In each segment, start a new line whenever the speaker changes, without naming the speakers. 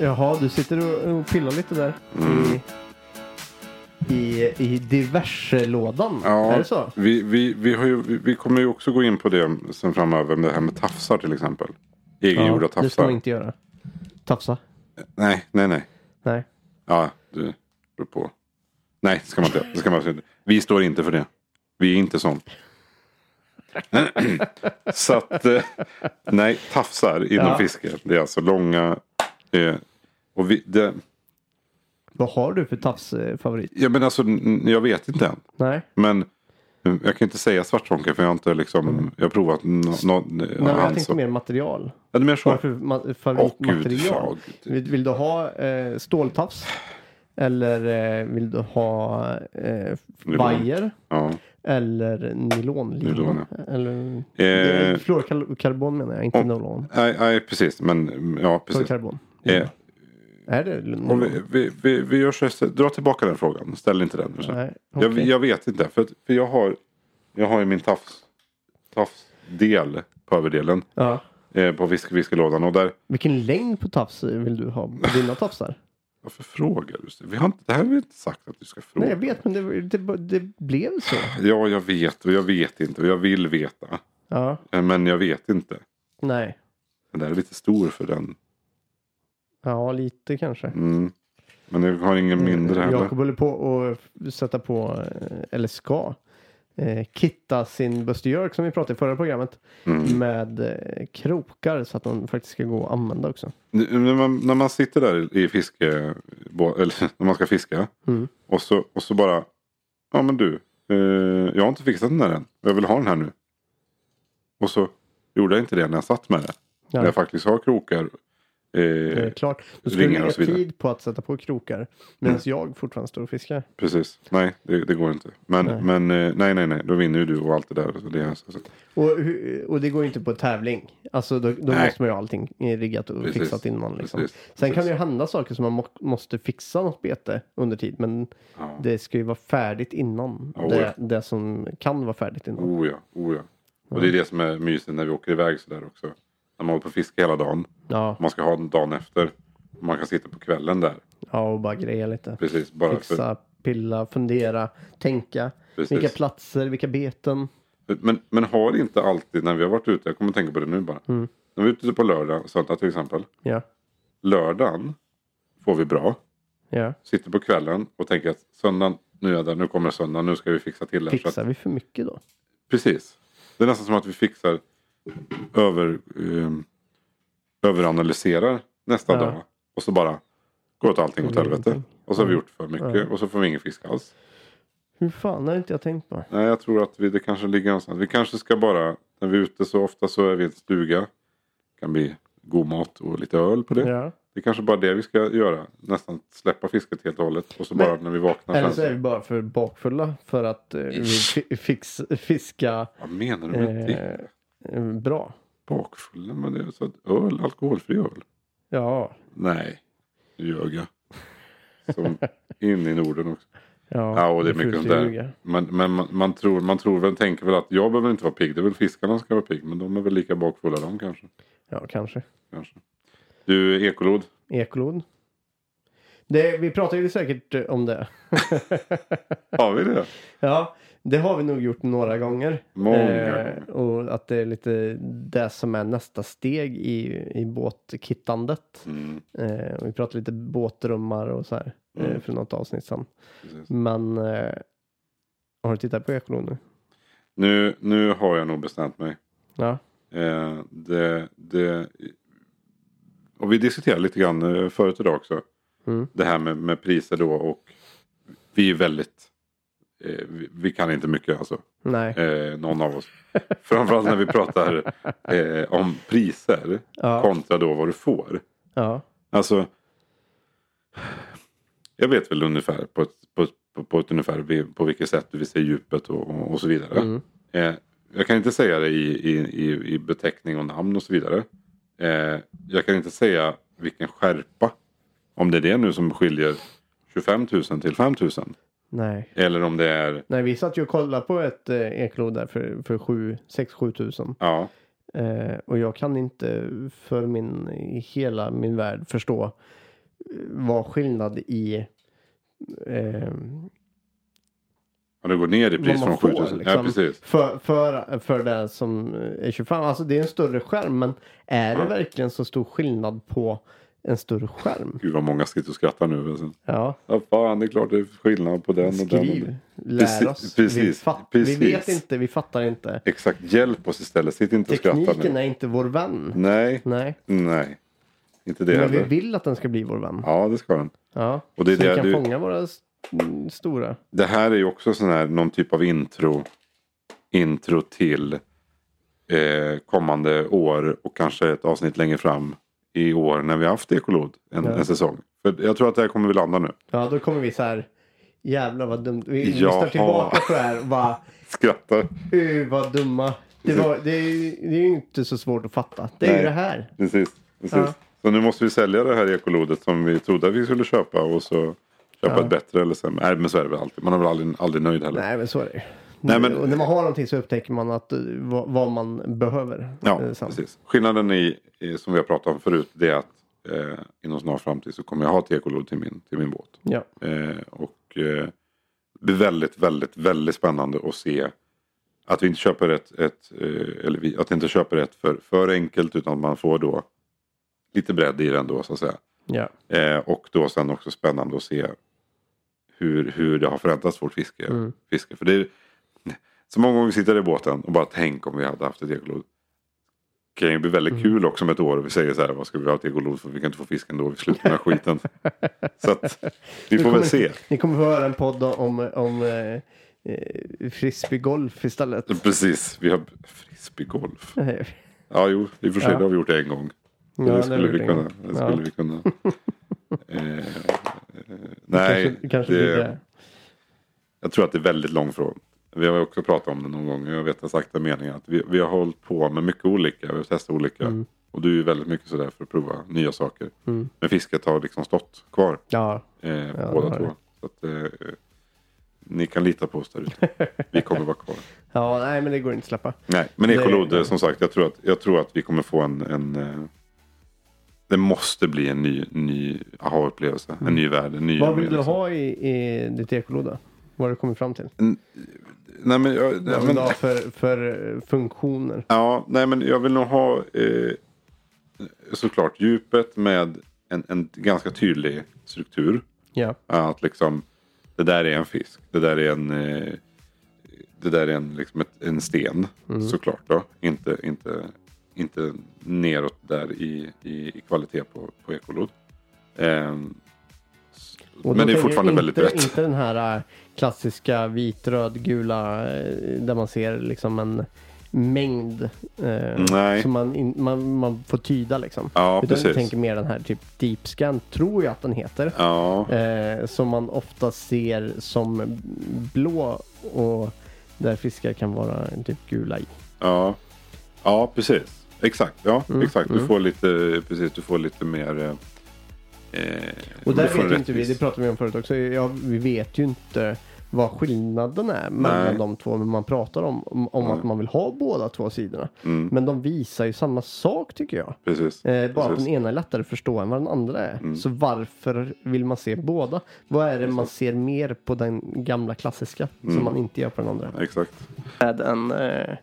Jaha, du sitter och och pillar lite där.
Mm.
I, i, i diverse-lådan.
Ja,
Är det så?
Vi, vi, vi, har ju, vi- vi kommer ju också gå in på det sen framöver. Med det här med tafsar till exempel. Egengjorda
det ska
tafsar.
man inte göra. Tafsa?
Nej, nej, nej.
Nej.
Ja, du beror på. Nej, det ska man inte. Det ska man absolut inte. Vi står inte för det. Vi är inte sånt. Så att, eh, nej, tafsar inom
Ja.
fiske. Det är alltså långa. Eh, och vi, det,
Vad har du för tafsfavorit?
ja, men alltså, n- jag vet inte än.
Nej.
Men eh, jag kan inte säga svartzonka för jag har inte liksom. Jag har provat no, no,
Nej, men jag tänkte mer material.
Ja, du menar så?
Vad är det för ma-
Åh gud.
favoritmaterial?
fan, gud.
vill, vill du ha eh, ståltafs? Eller eh, vill du ha eh,
Nylon.
vajer?
Ja.
Eller nylonlina?
Nylon,
Eller
Eh.
eh, fluorkarbon menar jag, inte
Om-
nylon.
Nej, nej, precis. Men ja, precis.
Fluorkarbon.
Eh,
Är det nylon?
Om vi, vi, vi, vi gör så här, dra tillbaka den frågan. Ställ inte den. Sen.
Nej,
Jag,
okej.
jag vet inte. För, att- för jag har jag har ju min tafs, tafsdel på överdelen.
Ja.
Eh, på fisk- fiskelådan. Och där,
Vilken längd på tafs vill du ha på dina tafsar?
varför frågar du? Vi har inte, det här har vi inte sagt att du ska fråga.
Nej, jag vet, men det, det, det blev så.
Ja, jag vet och jag vet inte och jag vill veta.
Ja,
Eh, Men jag vet inte.
nej.
Den där är lite stor för den.
Ja, lite kanske.
Mm. Men jag har
Eh,
ingen mindre heller.
Jakob håller på att sätta på, eh, eller ska, eh, kitta sin Buster Jerk som vi pratade i förra programmet
Mm.
med eh, krokar så att de faktiskt ska gå att använda också.
Nu- När man, när man sitter där i fiske, eller när man ska fiska.
Mm.
Och, så, och så bara, ja men du, eh, jag har inte fixat den där än. Jag vill ha den här nu. Och så gjorde jag inte det när jag satt med det. När jag faktiskt har krokar.
Det är
Eh,
klart. Då skulle du
ringar och
lägga
så vidare. Mm.
tid på att sätta på krokar medan jag fortfarande står och fiskar.
precis, nej det, det går inte. Men
Nej.
nej. men eh, nej nej nej, då vinner ju du och allt det där. Så det är, så, så.
Och, hu- och det går ju inte på tävling. Alltså då, då
Nej.
måste man ju ha allting riggat och
Precis.
fixat innan. Liksom.
Precis.
Sen kan det ju hända saker som man må- måste fixa något bete under tid. Men
Ja.
det ska ju vara färdigt innan.
Ja,
det, det som kan vara färdigt innan.
Oh ja, oh ja. Och det är det som är mysigt när vi åker iväg sådär också. När man håller på och fiskar hela dagen.
Ja,
Man ska ha den dagen efter. Man kan sitta på kvällen där.
ja och bara greja lite.
Precis, bara för,
Fixa, pilla, fundera, tänka.
Precis.
Vilka platser, vilka beten.
Men, men har inte alltid när vi har varit ute, jag kommer att tänka på det nu bara. När vi är ute på lördag, söndag till exempel.
Ja,
Lördagen får vi bra.
ja.
Sitter på kvällen och tänker att söndagen, nu är det, nu kommer söndagen, nu ska vi fixa till det. här. Så
Fixar
Att,
vi för mycket då?
precis. Det är nästan som att vi fixar, över, ehm, överanalyserar nästa
Ja.
dag. Och så bara går åt allting åt
blir
helvete.
ingenting.
Och så har vi gjort för mycket och så får vi ingen fisk alls.
Hur fan har inte jag tänkt på?
Nej, jag tror att vi, det kanske ligger någonstans. Vi kanske ska bara, när vi är ute så ofta så är vi i en stuga. Det kan bli god mat och lite öl på det.
Ja.
Det är kanske bara det vi ska göra. Nästan släppa fisket helt och hållet. Och så
Men-
bara när vi vaknar
Eller
sen.
så är vi bara för bakfulla för att eh, vi fi- fix, fiska
Vad menar du med det?
eh, bra.
Bakfulla? Men det är så att öl, alkoholfri öl?
Ja,
Nej, nu ljög jag. Som in i Norden också.
ja,
Ja, och det är
fult
mycket sånt
att
där.
ljuga.
Men, men man, man, tror, man tror väl, tänker väl att jag behöver inte vara pigg. Det är väl fiskarna som ska vara pigg. Men de är väl lika bakfulla de kanske.
Ja, kanske.
kanske. Du, ekolod.
Ekolod. Det, vi pratar ju säkert eh, om det.
Har vi det?
Ja, det har vi nog gjort några gånger.
Många
Eh, och att det är lite det som är nästa steg i, i båtkittandet.
Mm,
Eh, och vi pratade lite båtrummar och så här eh, för något avsnitt sen.
precis.
Men eh, har du tittat på Ekolod nu?
nu, nu har jag nog bestämt mig.
Ja,
Eh, det, det, och vi diskuterade lite grann eh, förut idag också.
Mm.
Det här med, med priser då och vi är väldigt... Eh, vi, vi kan inte mycket alltså.
nej.
Eh, någon av oss. Framförallt när vi pratar eh, om priser
Ja,
kontra då vad du får.
ja,
Alltså. Jag vet väl ungefär på ett, på, ett- på, på ett ungefär vi- på vilket sätt vi ser djupet och, och, och så vidare.
Mm.
Eh, jag kan inte säga det i, i, i, i beteckning och namn och så vidare. Eh, jag kan inte säga vilken skärpa. Om det är det nu som skiljer 25 000 till 5 000.
nej.
Eller om det är.
Nej, vi satt ju och kollade på ett eh, ekolod där för, för 6-7 tusen.
Ja,
Eh, och jag kan inte för min, i hela min värld förstå var skillnad i eh,
Ja, det går ner i
vad
pris
man
från
får.
7000.
liksom.
Ja, precis.
För, för, för den som är 25. Alltså det är en större skärm. Men är det
Ja.
verkligen så stor skillnad på en större skärm?
Gud vad många sitter och skrattar nu. Sen.
Ja,
Ja, fan, det är klart det är skillnad på den och den. och
skriv.
den.
Lär oss. vi,
Precis,
fatt,
precis.
vi vet inte, vi fattar inte.
Exakt, hjälp oss istället. Sitt inte och skratta
Tekniken
nu.
är inte vår vän.
Nej,
Nej,
nej. Inte det
men vi
heller.
vill att den ska bli vår vän.
Ja, det ska den.
Ja,
Och det är
så vi
det
kan
du-
fånga våra s- mm, stora.
Det här är ju också sån här, någon typ av intro. Intro till eh, kommande år och kanske ett avsnitt längre fram i år när vi har haft Ekolod en,
Ja.
en säsong. För jag tror att det här kommer vi landa nu.
Ja, då kommer vi så här. Jävlar vad dumt. Vi
Jaha.
lyssnar tillbaka på det här och bara.
Skrattar.
Uh, vad dumma. Det, var, det, är- det är ju inte så svårt att fatta. Det är
Nej.
ju det här.
Precis. precis.
Ja.
Så nu måste vi sälja det här ekolodet som vi trodde att vi skulle köpa och så köpa
Ja.
ett bättre eller sämre. Nej men så är det väl alltid. Man är väl aldrig, aldrig nöjd heller.
Nej, men så är det ju.
Nej, men-
Och när man har någonting så upptäcker man att, eh, vad, vad man behöver.
Ja,
eh, sen.
precis. Skillnaden i, i, som vi har pratat om förut det är att eh, inom snar framtid så kommer jag ha ett ekolod till min, till min båt.
Ja.
Eh, och eh, det blir väldigt, väldigt, väldigt spännande att se att vi inte köper ett, ett eh, eller vi, att vi inte köper ett för, för enkelt utan att man får då lite bredd i den då så att säga.
ja.
Eh, och då sen också spännande att se hur, hur det har förändrats vårt fiske.
Mm.
fiske. För det är, så många gånger vi sitter i båten och bara tänk om vi hade haft ett ekolod. Det kan ju bli väldigt
Mm.
kul också om ett år och vi säger så här vad ska vi ha ett ekolod för vi kan inte få fisk ändå vi slutar med den här skiten. Så att vi
Ni
får väl
kommer-
se.
Ni kommer få höra en podd om, om eh, eh, frisbeegolf istället.
Precis, vi har frisbeegolf.
Ja,
Ja jo, i och för sig
Ja.
det har vi gjort det en gång.
har
det skulle
vi
vi
gjort
kunna.
en gång.
Det skulle
Ja.
vi kunna. Eh, eh, nej,
kanske, kanske blir det.
Jag tror att det är väldigt långt från. Vi har ju också pratat om det någon gång. Jag vet exakta meningen. Att vi, vi har hållit på med mycket olika. Vi har testat olika.
Mm.
Och du är ju väldigt mycket sådär för att prova nya saker. Men fisket har liksom stått kvar.
Ja,
Eh, på
Mm. Ja, det
båda
har
två.
det.
Så att, eh, ni kan lita på oss där ute. Vi kommer vara kvar.
ja, nej men det går inte att släppa.
Nej, men ekolod
Det-
eh, som sagt. Jag tror att, jag tror att vi kommer få en... en eh, det måste bli en ny, ny aha-upplevelse. En ny värld. En ny
Mm. Vad vill du
upplevelse.
ha i, i ditt ekoloda? Vad har du kommit fram till?
Nej, men, jag,
Vad
nej,
vill
men,
du ha för, för eh, funktioner?
Ja, nej men jag vill nog ha eh, såklart djupet med en, en ganska tydlig struktur.
Ja.
Att liksom det där är en fisk. Det där är en, eh, det där är en, liksom ett, en sten
Mm.
såklart. Då. Inte, inte, inte neråt där i, i, i kvalitet på, på ekolod. Ehm, s-
Och då
men det är
tänker jag
fortfarande
inte,
väldigt brett.
Inte den här äh, klassiska vit, röd, gula eh, där man ser liksom en mängd eh,
Nej.
som man, in, man, man får tyda liksom.
Ja,
Utan
precis.
jag tänker mer den här typ deep scan, tror jag att den heter.
Ja,
Eh, som man ofta ser som blå och där fiskar kan vara typ gula i.
Ja, ja precis. Exakt. Ja,
Mm.
exakt. Du får lite, precis, du får lite mer... eh, Eh,
Och
du
där
får en
vet ju inte vi,
rättvis-
det pratade vi om förut också, ja, vi vet ju inte vad skillnaden är mellan
Nej.
de två. Men man pratar om, om, om
Nej.
att man vill ha båda två sidorna.
Mm.
Men de visar ju samma sak tycker jag.
Precis.
Eh, bara att
precis.
den ena är lättare att förstå än vad den andra är. Så varför vill man se båda? Vad är det man ser mer på den gamla klassiska som man inte gör på den andra?
Exakt.
Med en...
eh,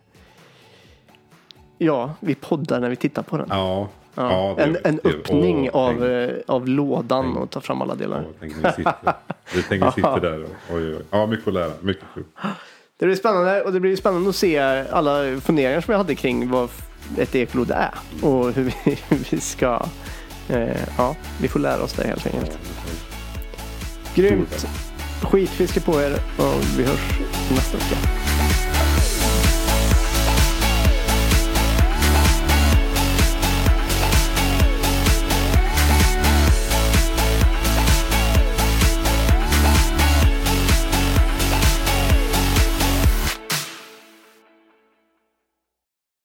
Ja, vi poddar när vi tittar på den.
Ja.
Ja, det-
en, en
det-
öppning
åh,
av,
Tänk,
eh, av lådan och ta fram alla delar.
åh, tänk när vi sitter, vi tänker vi sitter där och, oj, oj. Ja, mycket att lära. Mycket kul.
Det blir spännande och det blir spännande att se alla funderingar som jag hade kring vad f- ett ekolod är och hur vi, hur vi ska... Eh, ja, vi får lära oss det helt enkelt. Grymt! Skitfiske på er och vi hörs nästa vecka.